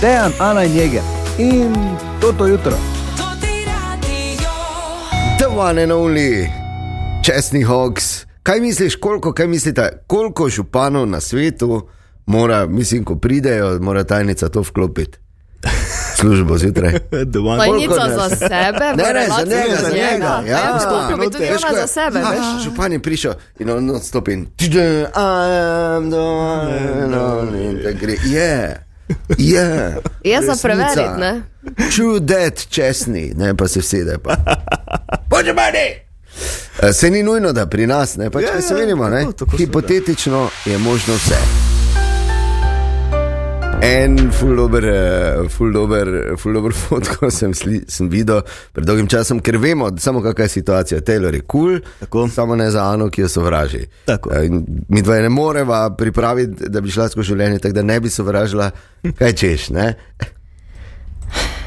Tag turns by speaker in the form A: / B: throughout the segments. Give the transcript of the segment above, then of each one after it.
A: Dejan, Ana in Jeger in toto jutro.
B: The one and only, česni hoks. Kaj misliš, koliko, kaj mislite, koliko županov na svetu mora, mislim, ko pridejo, mora tajnica to vklopiti? Službo zjutraj.
C: Doma.
B: Koliko
D: Plajnica za
B: nas?
D: sebe,
B: Ne, ne, za
D: relacija
B: njega, za njega. Ja,
D: Ja, vstopil bi
B: no,
D: tudi
B: veš, ko
D: ona
B: je-
D: za sebe.
B: Ja,
D: veš.
B: veš, Župan je prišel in on odstopi. in tđe, I'm the one and only, in tako gre. Je, je.
D: Je za
B: resnica.
D: preveriti, ne?
B: True dead, česni, ne pa se vsede. Pođe meni! Eh, Se ni nujno, da pri nas, ne pač,
C: Ja,
B: ja, se
C: ja,
B: vidimo, ne?
C: tako, tako
B: Hipotetično je možno vse. En ful dober, eh, ful dober, ful dober fotko sem, sli, sem videl pred dolgim časom, ker vemo, da samo kakšna je situacija. Taylor je kul,
C: Tako.
B: cool, samo ne za Ano, ki jo sovraži.
C: Tako.
B: Eh, in Mi dva je ne moreva pripraviti, da bi šla skozi življenje, tako da ne bi sovražila, kaj češ. Ne?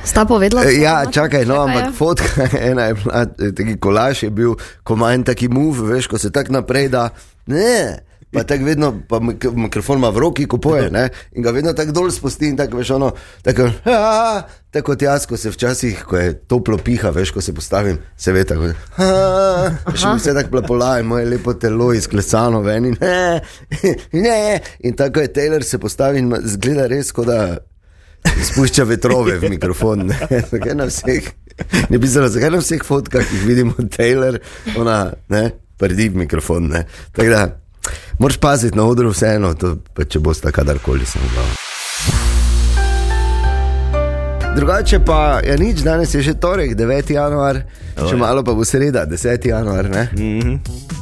D: Sta povedala?
B: Eh, Ja, čakaj, no,
D: Čakaj,
B: ampak
D: ja.
B: fotka ena je bila, eh, taki kolaž je bil, ko manj taki move, veš, ko se tako naprej da. Ne. Pa tako vedno, pa mik- mikrofon ima v roki, ko poje, ne? in ga vedno tako dol spusti, in tako veš, ono, tako, "Ah", tako kot jaz, ko se včasih, ko je toplo piha, veš, ko se postavim, se ve tako, "Ah", veš, in vse tako plapola in moje lepo telo izklesano ven in ne, ne, in tako je Taylor se postavi in zgleda res, kot da spušča vetrove v mikrofon. ne. Zakaj na vseh, ne bi zdelo, zakaj na vseh fotkah, ki jih vidimo, Taylor, ona, ne, prdi v mikrofon. Ne. Tako da, moraš paziti na odru vseeno, to, pa če boš tako kadarkoli sem glav. Drugače pa je nič, danes je že torek, 9. januar, še malo pa bo sreda, 10. januar. Ne?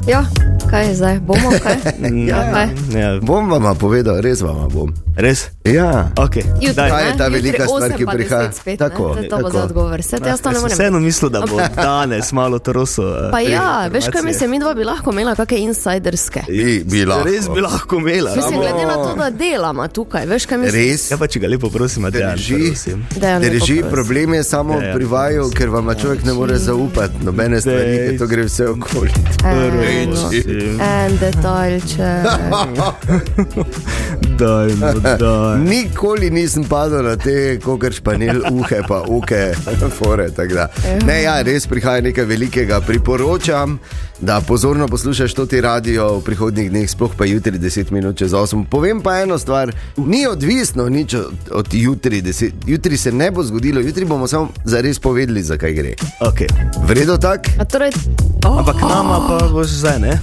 D: Ja, kaj je zdaj? Bomo kaj?
B: Ja,
D: Kaj?
C: Ja,
B: Bom vam povedal, res vam bom.
C: res?
B: Ja.
C: Okay.
D: Jutri,
C: daj.
B: Ta
D: ne?
B: je ta
D: Jutri
B: velika stvar,
D: osem
B: ki
D: pa deset
B: prihaja.
D: Spet,
B: Tako,
D: tako, ne? Zdaj To bo
B: tako.
D: za odgovor. Vse jaz to ne
C: Jaz sem
D: morem.
C: vseeno mislil, da bo danes malo eh, troso.
D: Pa ja, veš kaj mislim, mi dva bi lahko imela kakšne insiderske.
B: I, bi lahko.
C: Res bi lahko imela.
D: Mislim,
C: samo-
D: glede na to, da delamo tukaj, veš kaj mislim?
B: Res?
C: Ja, pa če ga lepo prosim, da
B: Drži,
D: Dejan, lepo
B: drži
D: prosim.
B: problem je samo
C: Dejan,
B: pri vaju, ker vam človek ne more zaupati, nobene stvari, ker to gre vse okoli.
D: E, no. En detajlče.
C: Daj, no, daj.
B: Nikoli nisem padel na te, kot španil, uhe, pa uke, fore. tako da. Ne, ja, res prihaja nekaj velikega. Priporočam, da pozorno poslušaš to ti radio v prihodnjih dneh, sploh pa jutri 10 minut čez 8. Povem pa eno stvar, ni odvisno nič od, od jutri. 10, jutri se ne bo zgodilo, jutri bomo samo zares povedali, zakaj gre.
C: Okay.
B: Vredno tak?
D: A torej,
C: Ampak nama pa boš zdaj, ne?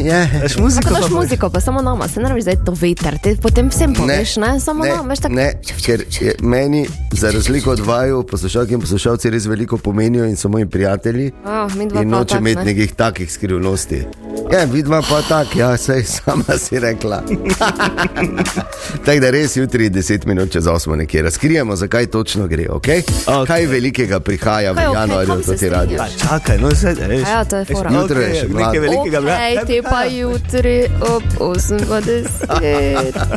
B: Je.
C: Daš muziko,
D: ko daš
C: pa boš-
D: muziko, pa samo nama, se ne rabiš zdaj to veter, te potem vsem poveš, ne? Samo
B: ne,
D: nam, veš tako.
B: ne, ker je meni, za razliko od vaju, poslušalke in poslušalci res veliko pomenijo in so moji prijatelji.
D: Oh, mi dva
B: In
D: pa
B: noče
D: tak,
B: imeti
D: ne.
B: nekih takih skrivnosti. Ja, vidva pa tak, ja, sej sama si rekla. Tako da res jutri 10 minut čez 8 nekje razkrijemo, zakaj točno gre, okay?
C: Okej.
B: Kaj velikega prihaja v
D: Kaj, okej,
B: januarju,
D: kam se
B: to ti radi.
C: Pa čakaj, no zdaj, veš.
D: A ja, to je fora.
B: Jutro je še mlad.
C: nekaj velikega. bra-
D: Okej, te pa jutri ob 8.10.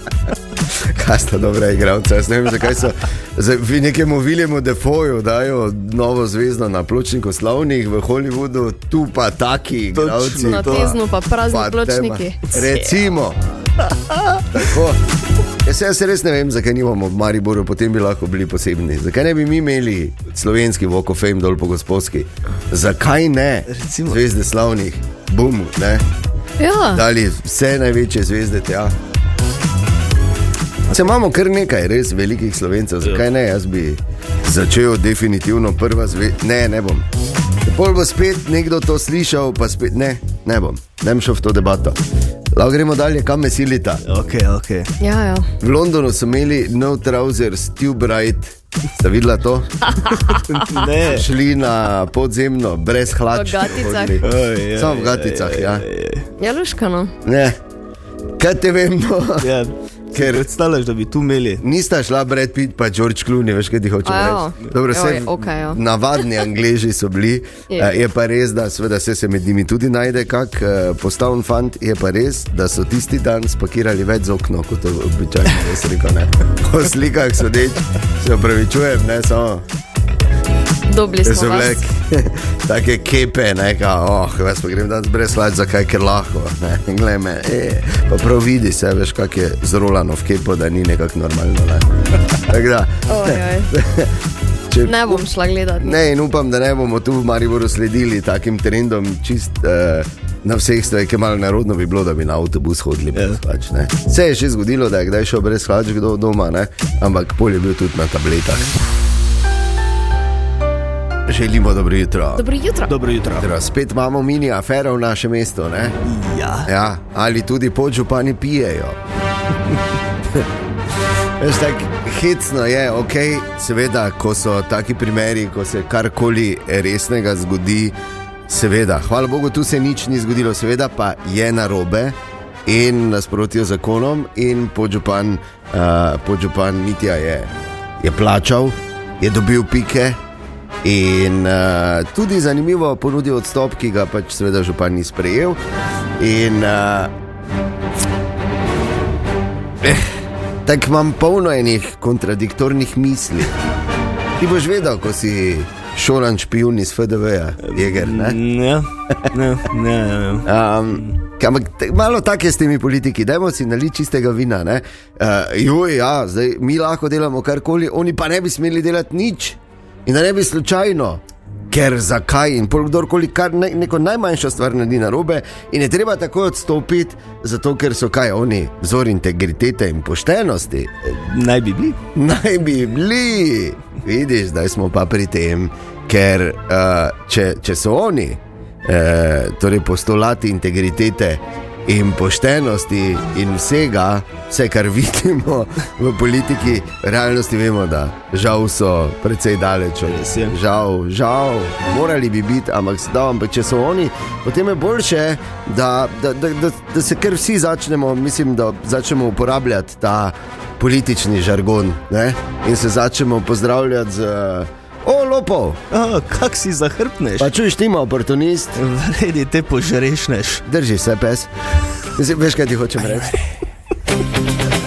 B: Kaj sta dobra igralca? Jaz ne vem, zakaj so. Zdaj, vi nekemu Viljemu Defoju dajo novo zvezdo na pločniku slavnih v Hollywoodu, tu pa taki
C: Točno
B: igralci.
D: Na
B: pa-
D: teznu pa prazni
B: pa
D: pločniki.
B: tema. Recimo. Tako. Jaz, jaz res ne vem, zakaj nimamo v Mariboru, potem bi lahko bili posebni. Zakaj ne bi mi imeli slovenski Voko Fame dol po gospodski? Zakaj ne?
C: Recimo.
B: Zvezde slavnih, bum, ne?
D: Ja.
B: dali vse največje zvezde tja. Se imamo kar nekaj res velikih slovencev,
C: Ja.
B: zakaj ne? Jaz bi začel definitivno prva zvezda. Ne, ne bom. Pol bo spet nekdo to slišal, pa spet ne, ne bom. Ne bom šel v to debato. Lahko gremo dalje, kam me silita.
C: Okej, okej.
D: Ja, ja.
B: V Londonu so imeli no trousers, tube right. Ste videla to?
C: Ne.
B: Šli na podzemno, brez hlač.
D: gaticah.
B: hodili.
C: Oj, oj,
B: Samo v gaticah, ja.
D: Ja, Luška, no.
B: Ne. Kaj te vem, no?
C: Ja,
B: Ker-
C: ker predstavljaš, da bi tu imeli.
B: Nista šla Brad Pitt pa George Clooney, veš, kaj ti hočeš reči.
D: Ajo.
B: Dobro,
D: Joj,
B: saj
D: oh. okej, ja.
B: Navadni Angleži so bili,
D: Je.
B: eh, je pa res, da seveda, saj se med njimi tudi najde kak eh, postavljen fant, je pa res, da so tisti dan spakirali več za okno, kot je običajno, jaz rekel ne. Po slikah sodeč, se opravičujem, ne samo.
D: Dobili
B: Jaz sem
D: smo vas.
B: vlek take kepe, neka, oh, jaz pa grem danes brez hlač, zakaj ker lahko. Ne, in glej me, e, pa prav vidi se, veš, kak je zrolano v kepo, da ni nekako normalno. Ne. Tako da,
D: Ojoj,
B: če,
D: Ne bom šla gledati.
B: Ne, in upam, da ne bomo tu v Mariboru sledili takim trendom, čist eh, na vseh stvareh, malo narodno bi bilo, da bi na avtobus hodili.
C: Ja.
B: Yeah. Pač, ne. Se je še zgodilo, da je kdaj šel brez hlač kdo doma, ne? ampak pol je bil tudi na tabletah. Želimo dobro jutro.
D: Dobro jutro.
C: Dobro jutro.
B: Dobro, Spet imamo mini afero v našem mestu. Ne?
C: Ja.
B: Ja, ali tudi podžupani pijejo. Veš, tako hecno je, ok, seveda, ko so taki primeri, ko se karkoli resnega zgodi, seveda, hvala Bogu, tu se nič ni zgodilo, seveda pa je narobe in nasprotijo zakonom, in podžupan, uh, podžupan Mitja je, je plačal, je dobil pike. In uh, tudi zanimivo ponudil odstop, ki ga pač seveda župan ni sprejel. In uh, Tako imam polno enih kontradiktornih misli. Ti boš vedel, ko si šolan špijun iz FDV-ja, jeger. Ne?
C: Ne, ne, ne, ne. ne.
B: Um, ampak te- malo tako je s temi politiki, dajmo si naliti čistega vina. ne. Uh, joj, ja, zdaj, mi lahko delamo karkoli, oni pa ne bi smeli delati nič in da ne bi slučajno. Ker zakaj in pol kdorkoli, kar ne, neko najmanjša stvar naredi na robe, in je treba takoj odstopiti, zato ker so kaj oni, vzor integritete in poštenosti.
C: Naj bi bili.
B: Naj bi bili, vidiš, zdaj smo pa pri tem, ker uh, če, če so oni, eh, torej postulati integritete in poštenosti in vsega, vse kar vidimo v politiki, v realnosti vemo, da žal so precej daleč od
C: Res je.
B: Žal, žal, morali bi biti, ampak se da, ampak če so oni, potem je boljše, da, da, da, da, da se kar vsi začnemo, mislim, da začnemo uporabljati ta politični žargon ne? in se začnemo pozdravljati z eh, o lopov.
C: Oh, kak si zahrbneš?
B: Pa čuješ, ti ima oportunist,
C: Vredi te požrešneš.
B: drži se pes. Zdaj, veš, kaj ti hočem reči.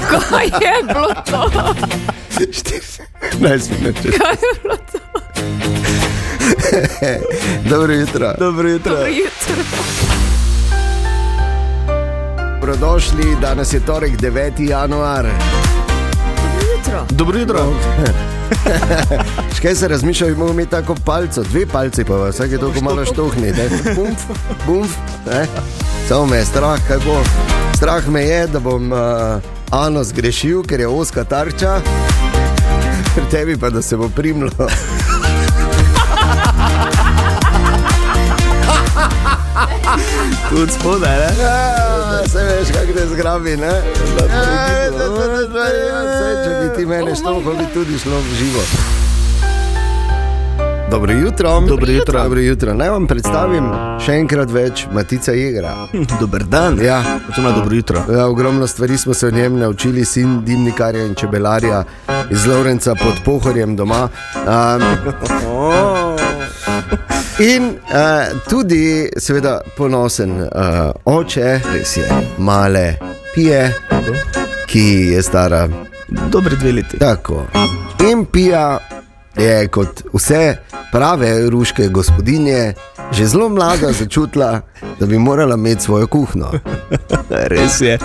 D: Kaj je bilo to?
B: 14 minut. čez.
D: Kaj je bilo to?
B: Dobro jutro.
C: Dobro jutro.
D: Dobro jutro.
B: Dobrodošli, danes je torek 9. januar.
D: Dobro jutro.
C: Dobro jutro.
B: Škaj se razmišlja, bi mogel imeti tako palco, dve palci pa vas, vsake toliko malo štuhni, ne, bumf, bumf, ne. Samo me je strah, kaj bo. Strah me je, da bom uh, Ano zgrešil, ker je oska tarča, pri tebi pa da se bo primlo.
C: Tudi spodaj, ne?
B: Ja, Se veš, kako te zgrabi, ne? Ja, Oh, saj, Če bi ti mene štuhal, bi tudi šlo v živo. Dobro jutro. Dobro jutro. Dobro jutro. Naj vam predstavim še enkrat več Matica Jegra.
C: Dober dan.
B: Ja.
C: Računa dobro jutro.
B: Ja, ogromno stvari smo se o njem naučili, sin dimnikarja in čebelarja iz Lovrenca pod pohorjem doma. Um, in uh, tudi, seveda, ponosen uh, oče, res je, male pije, ki je stara
C: Dobre dve leti.
B: tako. In pija je kot vse prave ruške gospodinje že zelo mlada začutila, da bi morala imeti svojo kuhno.
C: Res je.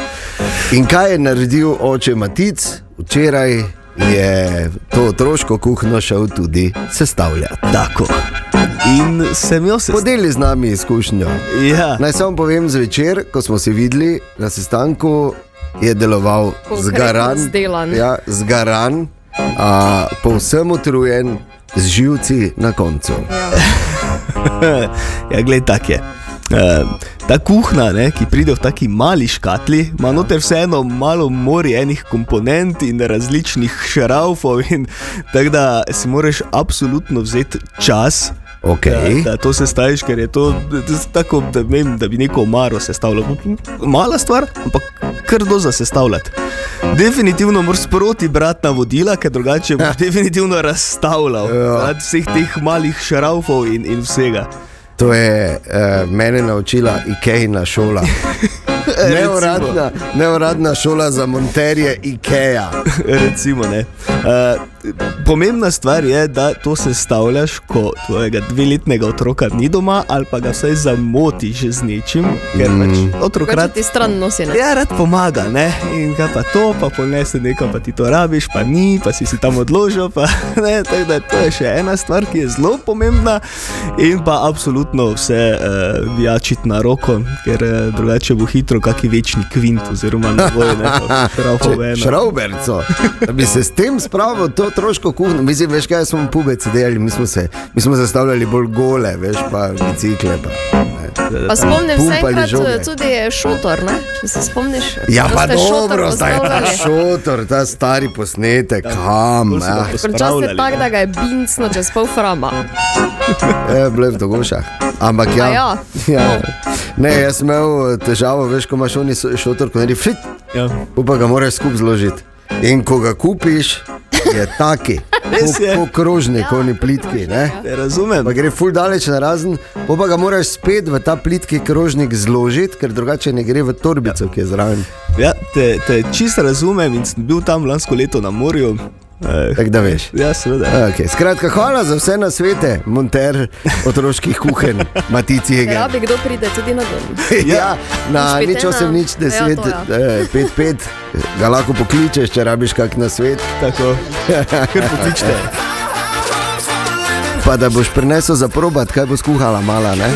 B: In kaj je naredil oče Matic? Včeraj je to otroško kuhno šel tudi sestavljati.
C: Tako. In sem jo se.
B: Podeli z nami izkušnjo.
C: Ja.
B: Naj samo povem, zvečer, ko smo se videli na sestanku, je deloval
D: Konkretno
B: zgaran,
D: zdelan.
B: ja, zgaran a, povsem utrujen, z živci na koncu.
C: ja, gled, tak je. Uh, ta kuhna, ne, ki pride v taki mali škatli, ima noter vseeno malo morje enih komponent in različnih šraufov. in Tako da si moraš absolutno vzeti čas.
B: Okay.
C: Da, da to sestaviš, ker je to, to je tako, da, ne vem, da bi neko omaro sestavljal. Mala stvar, ampak krdo za sestavljati. Definitivno moraš sproti brati navodila, ker drugače boš definitivno razstavljal. Zaradi vseh teh malih šraufov in, in vsega.
B: To je eh, mene naučila Ikejna šola. Neuradna, neuradna šola za monterje IKEA.
C: Recimo, ne. Uh, pomembna stvar je, da to sestavljaš, ko tvojega dveletnega otroka ni doma ali pa ga vsaj zamotiš z nečim, ker mm. pač otrok
D: Kaj
C: rad
D: ti stran nosi? ne?
C: Ja, rad pomaga, ne? in ga pa to, pa ponese nekam, pa ti to rabiš, pa ni, pa si si tam odložil. Pa, ne, tako da to je še ena stvar, ki je zelo pomembna in pa absolutno vse uh, vijačiti na roko, ker uh, drugače bo hitro kaki večni kvint oziroma ne bojo več.
B: Šrauberco, da bi se s tem spravil to otroško kuhno. Mislim, veš kaj, smo pubeci delali, mi smo se, mi smo zastavljali bolj gole, veš pa bicikle. Pa, ne.
D: Pa spomnim se
B: pumpali
D: enkrat
B: žoge.
D: eh, tudi eh, šotor, ne? če se spomniš.
B: ja,
D: kako
B: pa
D: ste šotor
B: dobro, zdaj ja. je ta
D: postavljali.
B: šotor, ta stari posnetek, kam.
C: bolj so ga
B: ah.
D: Včasih je
C: Spravljali,
D: tako,
C: ne?
D: da ga je bincno čez pol frama.
B: Ja, bile v dogošah. Ampak ja.
D: A ja.
B: ja. Ne, jaz sem imel eh, težavo, veš, ko imaš oni so- šotor, ko naredi fit,
C: Ja.
B: pol pa ga moraš skup zložiti. In ko ga kupiš, je taki,
C: Res je.
B: kot krožnik, ja, oni plitki. Ne?
C: Ne razumem.
B: Pa gre ful daleč na razen, pol pa ga moraš spet v ta plitki krožnik zložiti, ker drugače ne gre v torbico, ki je zraven.
C: Ja, te, te čisto razumem in sem bil tam lansko leto na morju. Eh,
B: Tako Eh. da veš.
C: ja, seveda.
B: Okay. Skratka, hvala za vse na svete, monter otroških kuhen, matici
D: Ker
B: Hegel.
D: rabi kdo pride tudi na dom.
B: Ja, na
D: Nič pet
B: nič
D: ena.
B: osem, nič deset,
D: Ja, to
B: eh, pet pet, ga lahko pokličeš, če rabiš kak na svet.
C: Tako, kar potičte.
B: Pa da boš prinesel za probat, kaj bo skuhala mala. Ne?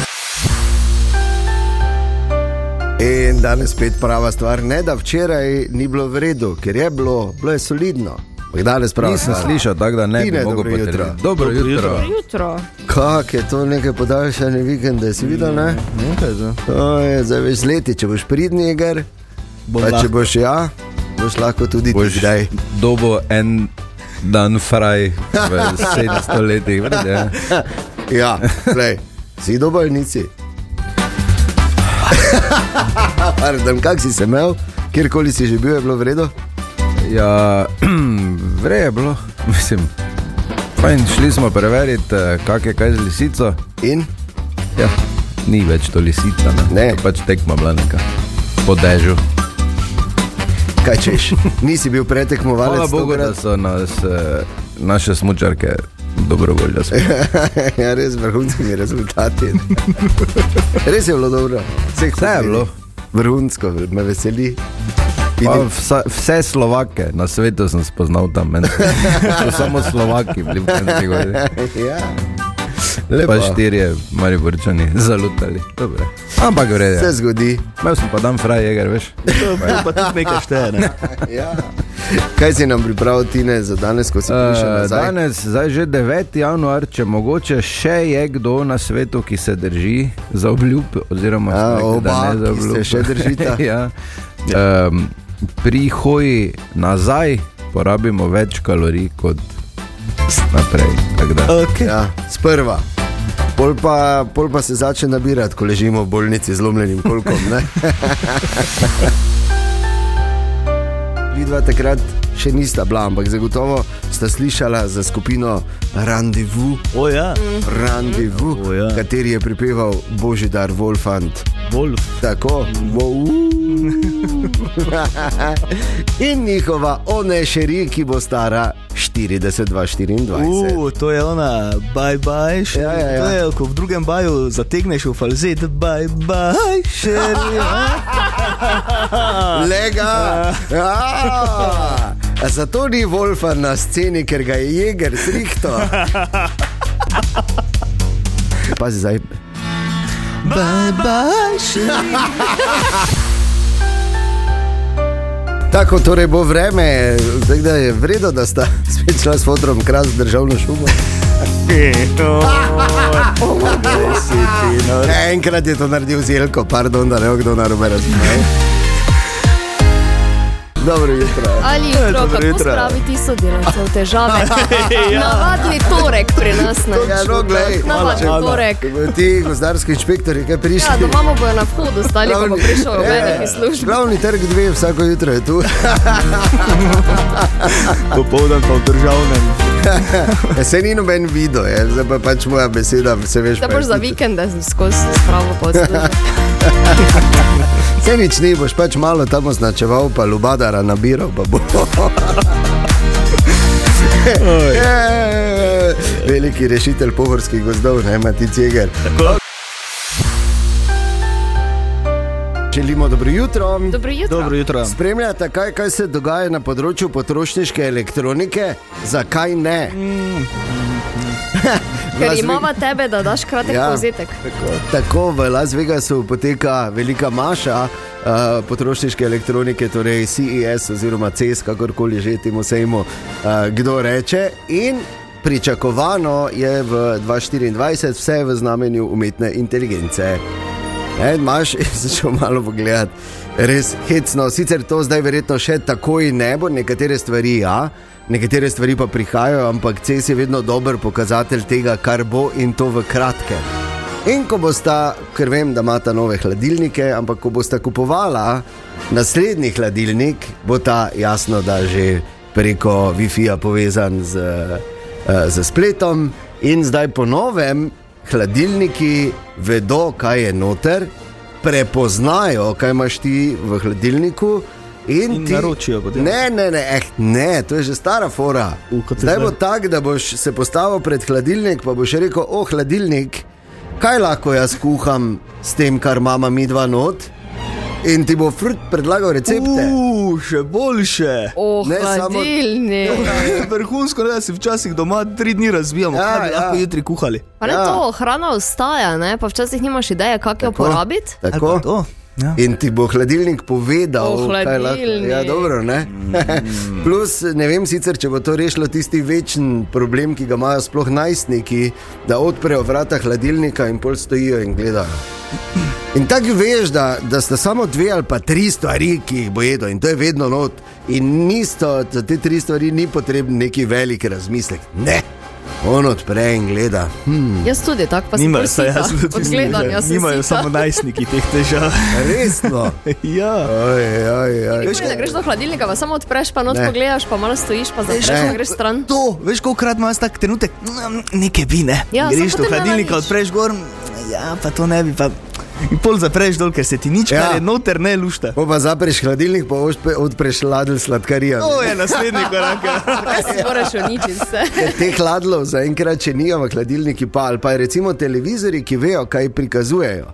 B: In danes spet prava stvar, ne da včeraj ni bilo v redu, ker je bilo, bilo je solidno. Ampak Danes pravi,
A: Nisem slišal, tako da ne
B: Tine,
A: bi mogel
B: dobro jutro.
A: potrditi. Dobro jutro.
D: Jutro.
B: Kak je to nekaj podaljšanje vikenda, si videl, ne?
A: Nekaj za-
B: To je za več leti, če boš pridni iger,
C: Bom
B: pa če
C: lahko.
B: boš ja, boš lahko tudi ti
A: Boš
B: kdaj.
A: dobo en dan fraj v 700 letih. v redu, ja.
B: Ja, glej, si do bolnici. Pardon, kak si se imel, kjerkoli si že bil, je bilo vredno.
A: Ja, vre je bilo, mislim. Fajn, šli smo preveriti, eh, kak je kaj z lisico.
B: In
A: Ja, ni več to lisica,
B: Ne.
A: To pač tekma bila neka. Po dežju.
B: kaj češ? Nisi bil pretekmovalec.
A: Hvala Bogu, da
B: tokrat?
A: so nas, eh, naše smočarke dobrovoljno sprejeli.
B: ja, res vrhunski rezultati. Res je bilo dobro.
A: Vse je bilo.
B: Vrhunsko, me veseli.
A: Pa
B: Vidim,
A: Vsa, vse Slovake na svetu sem spoznal tam, meni so samo Slovaki, bili v Kranjski Gori.
B: ja.
A: Pa štirje, mali vrčani, zalutali. Dobre. Ampak v redu.
B: Se
A: je.
B: zgodi.
A: Imel sem pa dan frajeger, veš.
C: To pa tudi nekaj šteje. Ne?
B: Ja. Kaj si nam pripravil, Tine, za danes, ko si prišel
A: Eh,
B: nazaj?
A: Danes, zdaj že 9. januar, če mogoče še je kdo na svetu, ki se drži za obljub, oziroma
B: Ja,
A: se nekdo, da
B: oba,
A: ne
B: ki
A: za obljub.
B: se še držita.
A: ja. um, pri hoji nazaj porabimo več kalorij kot naprej. tako da.
C: Okay.
B: Ja, sprva. Pol pa, pol pa se začne nabirati, ko ležimo v bolnici z lomljenim kolkom. ne? Vidva takrat še nista bila, ampak zagotovo sta slišala za skupino Randivu,
C: O ja,
B: Randivu
C: O, ja.
B: kateri je pripeval Božidar Wolfant.
C: Wolf.
B: Tako, wow. In njihova onešeri, ki bo stara 40-24.
C: U, to je ona, bye bye, še.
B: Ja, ja, ja.
C: To je, ko v drugem baju zategneš v falzet, bye bye, ja. še.
B: Lega! Ja! Zato ni Wolfa na sceni, ker ga je jeger zrihto. Pazi zdaj.
C: Bye bye, še.
B: Tako torej bo vreme, tako da je vredno, da sta spet šla s fotom kras v državno šumo.
C: E, no.
B: Enkrat je to naredil Zelko, pardon, da ne bo kdo narobe razumel. Dobro jutro.
D: Ali jutro,
C: Dobro
D: kako
C: jutro.
D: spraviti sodelavce v težave?
C: Ja.
D: Navadni torek pri nas ne.
B: Ja, no, glej,
D: Navadni
C: hvala, Ana.
D: torek.
B: Ko bodo Ti gozdarski inšpektori, kaj prišli?
D: Ja, doma mu bojo na vhodu stali, ko bo prišel v
B: Ja,
D: meni službo.
B: Glavni trg dve vsako jutro je tu.
C: Popoldan pa v državnem.
B: Ja, se ni noben video, je, zdaj pa je pač moja beseda, vse veš.
D: Da boš za vikend skozi spravo
C: Ja.
D: poslušal.
B: Vse nič ni, boš pač malo tam označeval, pa lubadara nabiral, pa bo. Je, Veliki rešitelj pohorskih gozdov, ne Mati Ceger. Želimo dobro jutro.
D: Dobro jutro.
C: Dobro jutro.
B: Spremljate, kaj, kaj se dogaja na področju potrošniške elektronike, zakaj ne?
D: Ker imamo tebe, da daš kratek
B: Ja.
D: povzetek.
B: Tako, tako v Las Vegasu poteka velika maša uh, potrošniške elektronike, torej CES oziroma CES, kakorkoli že temu sejmu, uh, kdo reče. In pričakovano je v 2024 vse v znamenju umetne inteligence. Ne, imaš, jaz šel malo pogledat, res hecno. Sicer to zdaj verjetno še takoj ne bo, nekatere stvari ja, nekatere stvari pa prihajajo, ampak CES je vedno dober pokazatelj tega, kar bo in to v kratkem. In ko bosta, ker vem, da imata nove hladilnike, ampak ko bosta kupovala naslednji hladilnik, bo ta jasno, da že preko Wi-Fi-ja povezan z, eh, z spletom. In zdaj po novem hladilniki vedo, kaj je noter, prepoznajo, kaj imaš ti v hladilniku. In,
C: In
B: ti
C: naročijo potem.
B: Ne, ne, ne, eh, ne, to je že stara fora.
C: U, kot je
B: Zdaj bo
C: zdaj.
B: tako, da boš se postavil pred hladilnik, pa boš rekel: O, hladilnik, kaj lahko jaz kuham s tem, kar mama mi dva not. In ti bo frut predlagal recepte.
C: Uuu, še boljše.
D: O,
B: Ne, samo-
D: hladilni.
C: Ja. Vrhunsko, ne, da si včasih doma tri dni razbijamo,
B: Ja,
C: ja, kaj bi
B: ja.
C: ja. lahko jutri kuhali.
D: Pa ne
B: Ja.
D: to, hrana ostaja, ne? pa včasih nimaš ideje, kako jo porabiti.
C: Ali pa
B: Tako.
C: To. Ja.
B: In ti bo hladilnik povedal,
D: O,
B: kaj lahko.
D: hladilnik.
B: Ja, dobro, ne. Plus, ne vem sicer, če bo to rešilo tisti večen problem, ki ga imajo sploh najstniki, da odprejo vrata hladilnika in pol stojijo in gledajo. In tako veš, da, da sta samo dve ali pa tri stvari, ki jih bo jedel, in to je vedno not. In nisto, za te tri stvari ni potreben neki velik razmislek. Ne, on odpre in gleda. Hm,
D: Jaz tudi tako, pa sem
C: Nimajo,
D: bolj
C: saj
D: sita.
C: Mm. jaz
D: Od
C: tudi
D: gledanja sem
C: nimajo
D: sita.
C: samo najstniki teh težav.
B: resno.
C: ja.
B: Oj, oj, oj.
D: Nikoli ne greš do hladilnika, pa samo odpreš, pa not
B: Ne.
D: pogledaš, pa malo stojiš, pa zapreš,
B: Ne.
D: pa greš stran.
C: To, veš, kolikrat imaš tak trenutek, mm, neke vine.
D: Ja, samo
C: Greš do
D: potem ne
C: hladilnika,
D: narediš.
C: odpreš gor, mm, ja, pa to ne bi. Pa... In pol zapreš dol, ker se ti nič,
B: Ja.
C: ja. kar je noter, ne lušta.
B: Po pa zapreš hladilnik, pa ošpe- odpreš ladl sladkarija.
C: To je naslednji korak. ja.
D: Kaj si moraš uničiti vse?
B: Teh hladlov zaenkrat še ni, ampak hladilniki pa ali pa je recimo televizori, ki vejo, kaj prikazujejo.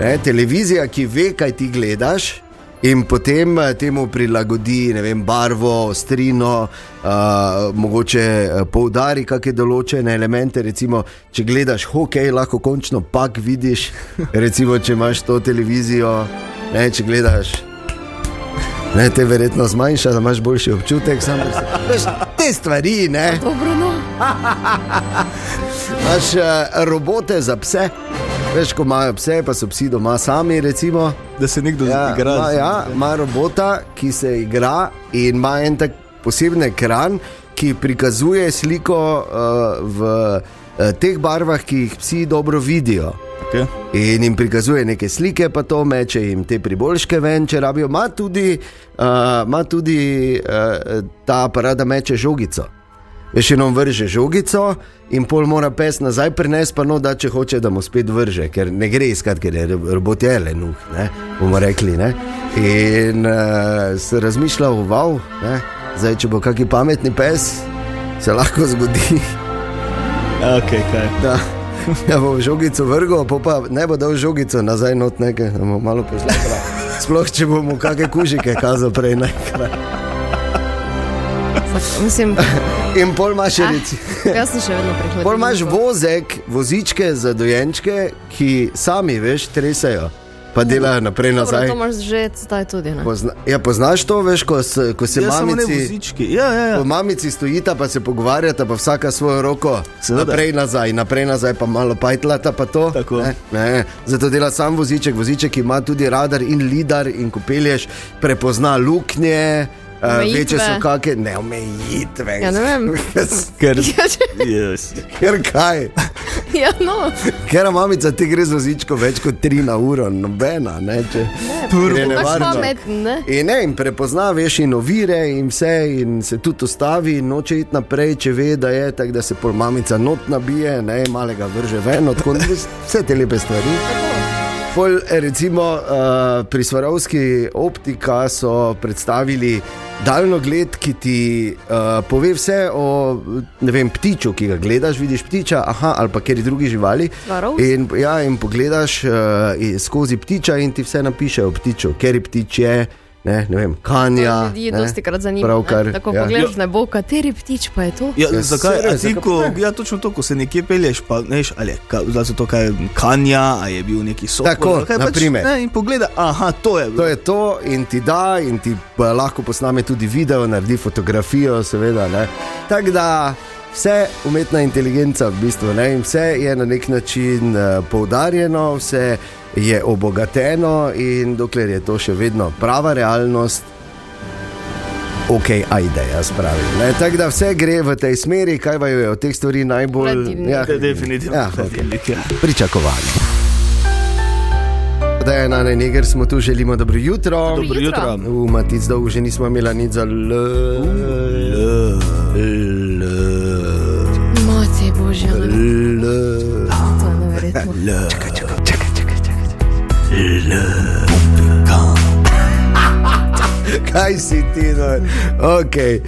B: Ne, televizija, ki ve, kaj ti gledaš. In potem eh, temu prilagodi ne vem, barvo, ostrino, uh, mogoče eh, poudari kakšne določene elemente. Recimo, če gledaš hokej, lahko končno pak vidiš. Recimo, če imaš to televizijo, ne, če gledaš Ne, te verjetno zmanjša, da imaš boljši občutek, samo da se- veš, te stvari, ne.
D: Dobro, no.
B: Imaš eh, robote za pse, veš, ko imajo pse, pa so psi doma sami, recimo.
C: Da se nekdo
B: Ja,
C: igra.
B: ima, ja, ima robota, ki se igra in ima en tak poseben ekran, ki prikazuje sliko uh, v uh, teh barvah, ki jih psi dobro vidijo.
C: Okay.
B: In jim prikazuje neke slike, pa to meče jim te priboljške ven, če rabijo. Ma tudi, uh, ma tudi uh, ta aparat, da meče žogico. Veš, eno vrže žogico in pol mora pes nazaj prenesti, pa no, da če hoče, da mu spet vrže, ker ne gre iskati, ker je rob- robot je le nuh, ne, bomo rekli. Ne. In uh, se razmišlja, wow, ne. zdaj, če bo kaki pametni pes, se lahko zgodi.
C: Okay, Ja, kaj.
B: Da, da bo Ja. žogico vrgel, pol pa ne bo dal žogico nazaj not nekaj, da bo malo poslušal. Sploh če bomo kakšne kužike kazali prej najkrat.
D: Mislim,
B: In pol imaš še reči.
D: jaz sem še vedno prehlajen.
B: Pol imaš vozek, vozičke za dojenčke, ki sami veš, tresajo, pa delajo naprej
D: Dobro,
B: nazaj.
D: to imaš že zdaj tudi, ne?
B: Pozna, ja, poznaš to, veš, ko, s, ko se
C: Ja, samo ne
B: mamici.
C: vozički. Ja, ja, ja.
B: Ko mamici stojita, pa se pogovarjata, pa vsaka svojo roko,
C: Seveda.
B: naprej nazaj, naprej nazaj, pa malo pajtlata, pa to.
C: Tako.
B: Ne, ne. Zato dela sam voziček, voziček ki ima tudi radar in lidar in ko pelješ, prepozna luknje, eh,
D: Omejitve.
B: večje so kakšne, ne omejitve.
D: Ja, ne vem.
C: Ker,
D: Ja, če-
C: yes.
B: Ker kaj?
D: ja, no.
B: Ker mamica ti gre z vozičko več kot 3 na uro, nobena, ne če
D: Prvo.
B: gre
D: Pač
B: nevarno.
D: pameten, ne?
B: In ne, in prepozna, veš, in ovire, in vse, in se tudi ustavi, in noče iti naprej, če ve, da je tako, da se pol mamica not nabije, ne, malega vrže ven, odkud vse te lepe stvari. Pol, recimo eh, pri Svarovski optika so predstavili daljnogled, ki ti eh, pove vse o ne vem, ptiču, ki ga gledaš, vidiš ptiča aha, ali pa kjer drugi živali.
D: Svarovski?
B: In, ja, in pogledaš uh, skozi ptiča in ti vse napiše o ptiču, kjer je ptič je. Ne, ne vem, kanja.
D: Ljudi
B: Ja, ne,
D: dosti krat zanima.
B: Pravkar.
D: ne? Tako
B: ja.
D: pogledaš v nebo, kateri ptič pa je to.
C: Ja,
B: Ja,
C: zakaj
B: seveda,
C: a ti,
B: zakaj
C: ko,
B: pa ne?
C: ja, točno to, ko se nekje pelješ, pa neš, ali je ka- zdaj so to kaj kanja, a je bil neki sok.
B: Tako, na primer.
C: ne, in pogleda, aha, to je bilo.
B: To je to, in ti da, in ti pa lahko posname tudi video, naredi fotografijo, seveda. ne. Tako da vse umetna inteligenca, v bistvu, ne, in vse je na nek način uh, poudarjeno, vse je obogateno, in dokler je to še vedno prava realnost. Ok, ajde, jaz pravim. ne. Tako da vse gre v tej smeri, kaj vaju je od teh stvari najbolj
D: Relativno.
C: To je definitivno.
B: Ja, okej
C: ja.
B: pričakovanje. Da je na ne, ker smo tu, želimo dobro jutro.
C: Dobro
D: jutro.
C: jutro.
B: V Matic dolgo že nismo imeli nič za L. L.
D: Moce božja, no,
B: L.
D: to je neverjetno.
B: Kaj si ti, no? okay.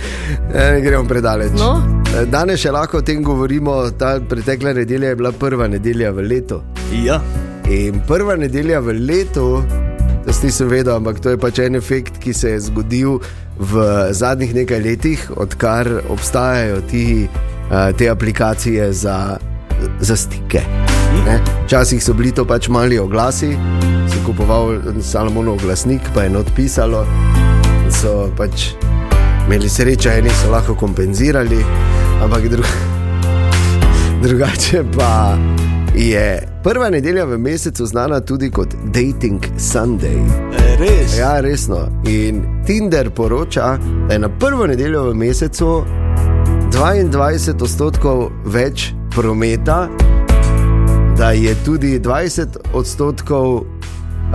B: e, gremo predaleč.
D: No.
B: E, Danes še lahko o tem govorimo. Ta pretekla nedelja je bila prva nedelja v letu.
C: ja.
B: In prva nedelja v letu, to si nisem vedel, ampak to je pač en efekt, ki se je zgodil v zadnjih nekaj letih, odkar obstajajo ti, eh, te aplikacije za, za stike. Ne? Včasih so bili to pač mali oglasi, si kupoval Salomonov oglasnik, pa je not pisalo. in So pač imeli srečo, eni so lahko kompenzirali, ampak drugi. Drugače pa je prva nedelja v mesecu znana tudi kot Dating Sunday.
C: E, Res.
B: Ja, resno. In Tinder poroča, da je na prvo nedeljo v mesecu 22 odstotkov več prometa, da je tudi 20 odstotkov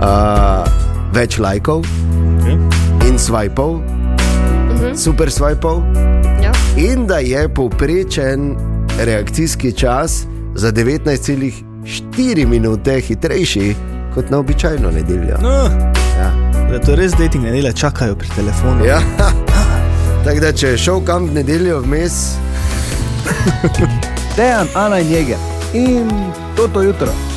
B: uh, več lajkov in swipov, super swipov
D: Ja.
B: in da je povprečen reakcijski čas za 19,4 minute hitrejši kot na običajno nedeljo.
C: No,
B: Ja.
C: da to je res dating nedelja, čakajo pri telefonu.
B: Ja. Tako da, če je šel kam v nedeljo vmes,
E: Dejan, Ana in Jeger in toto jutro.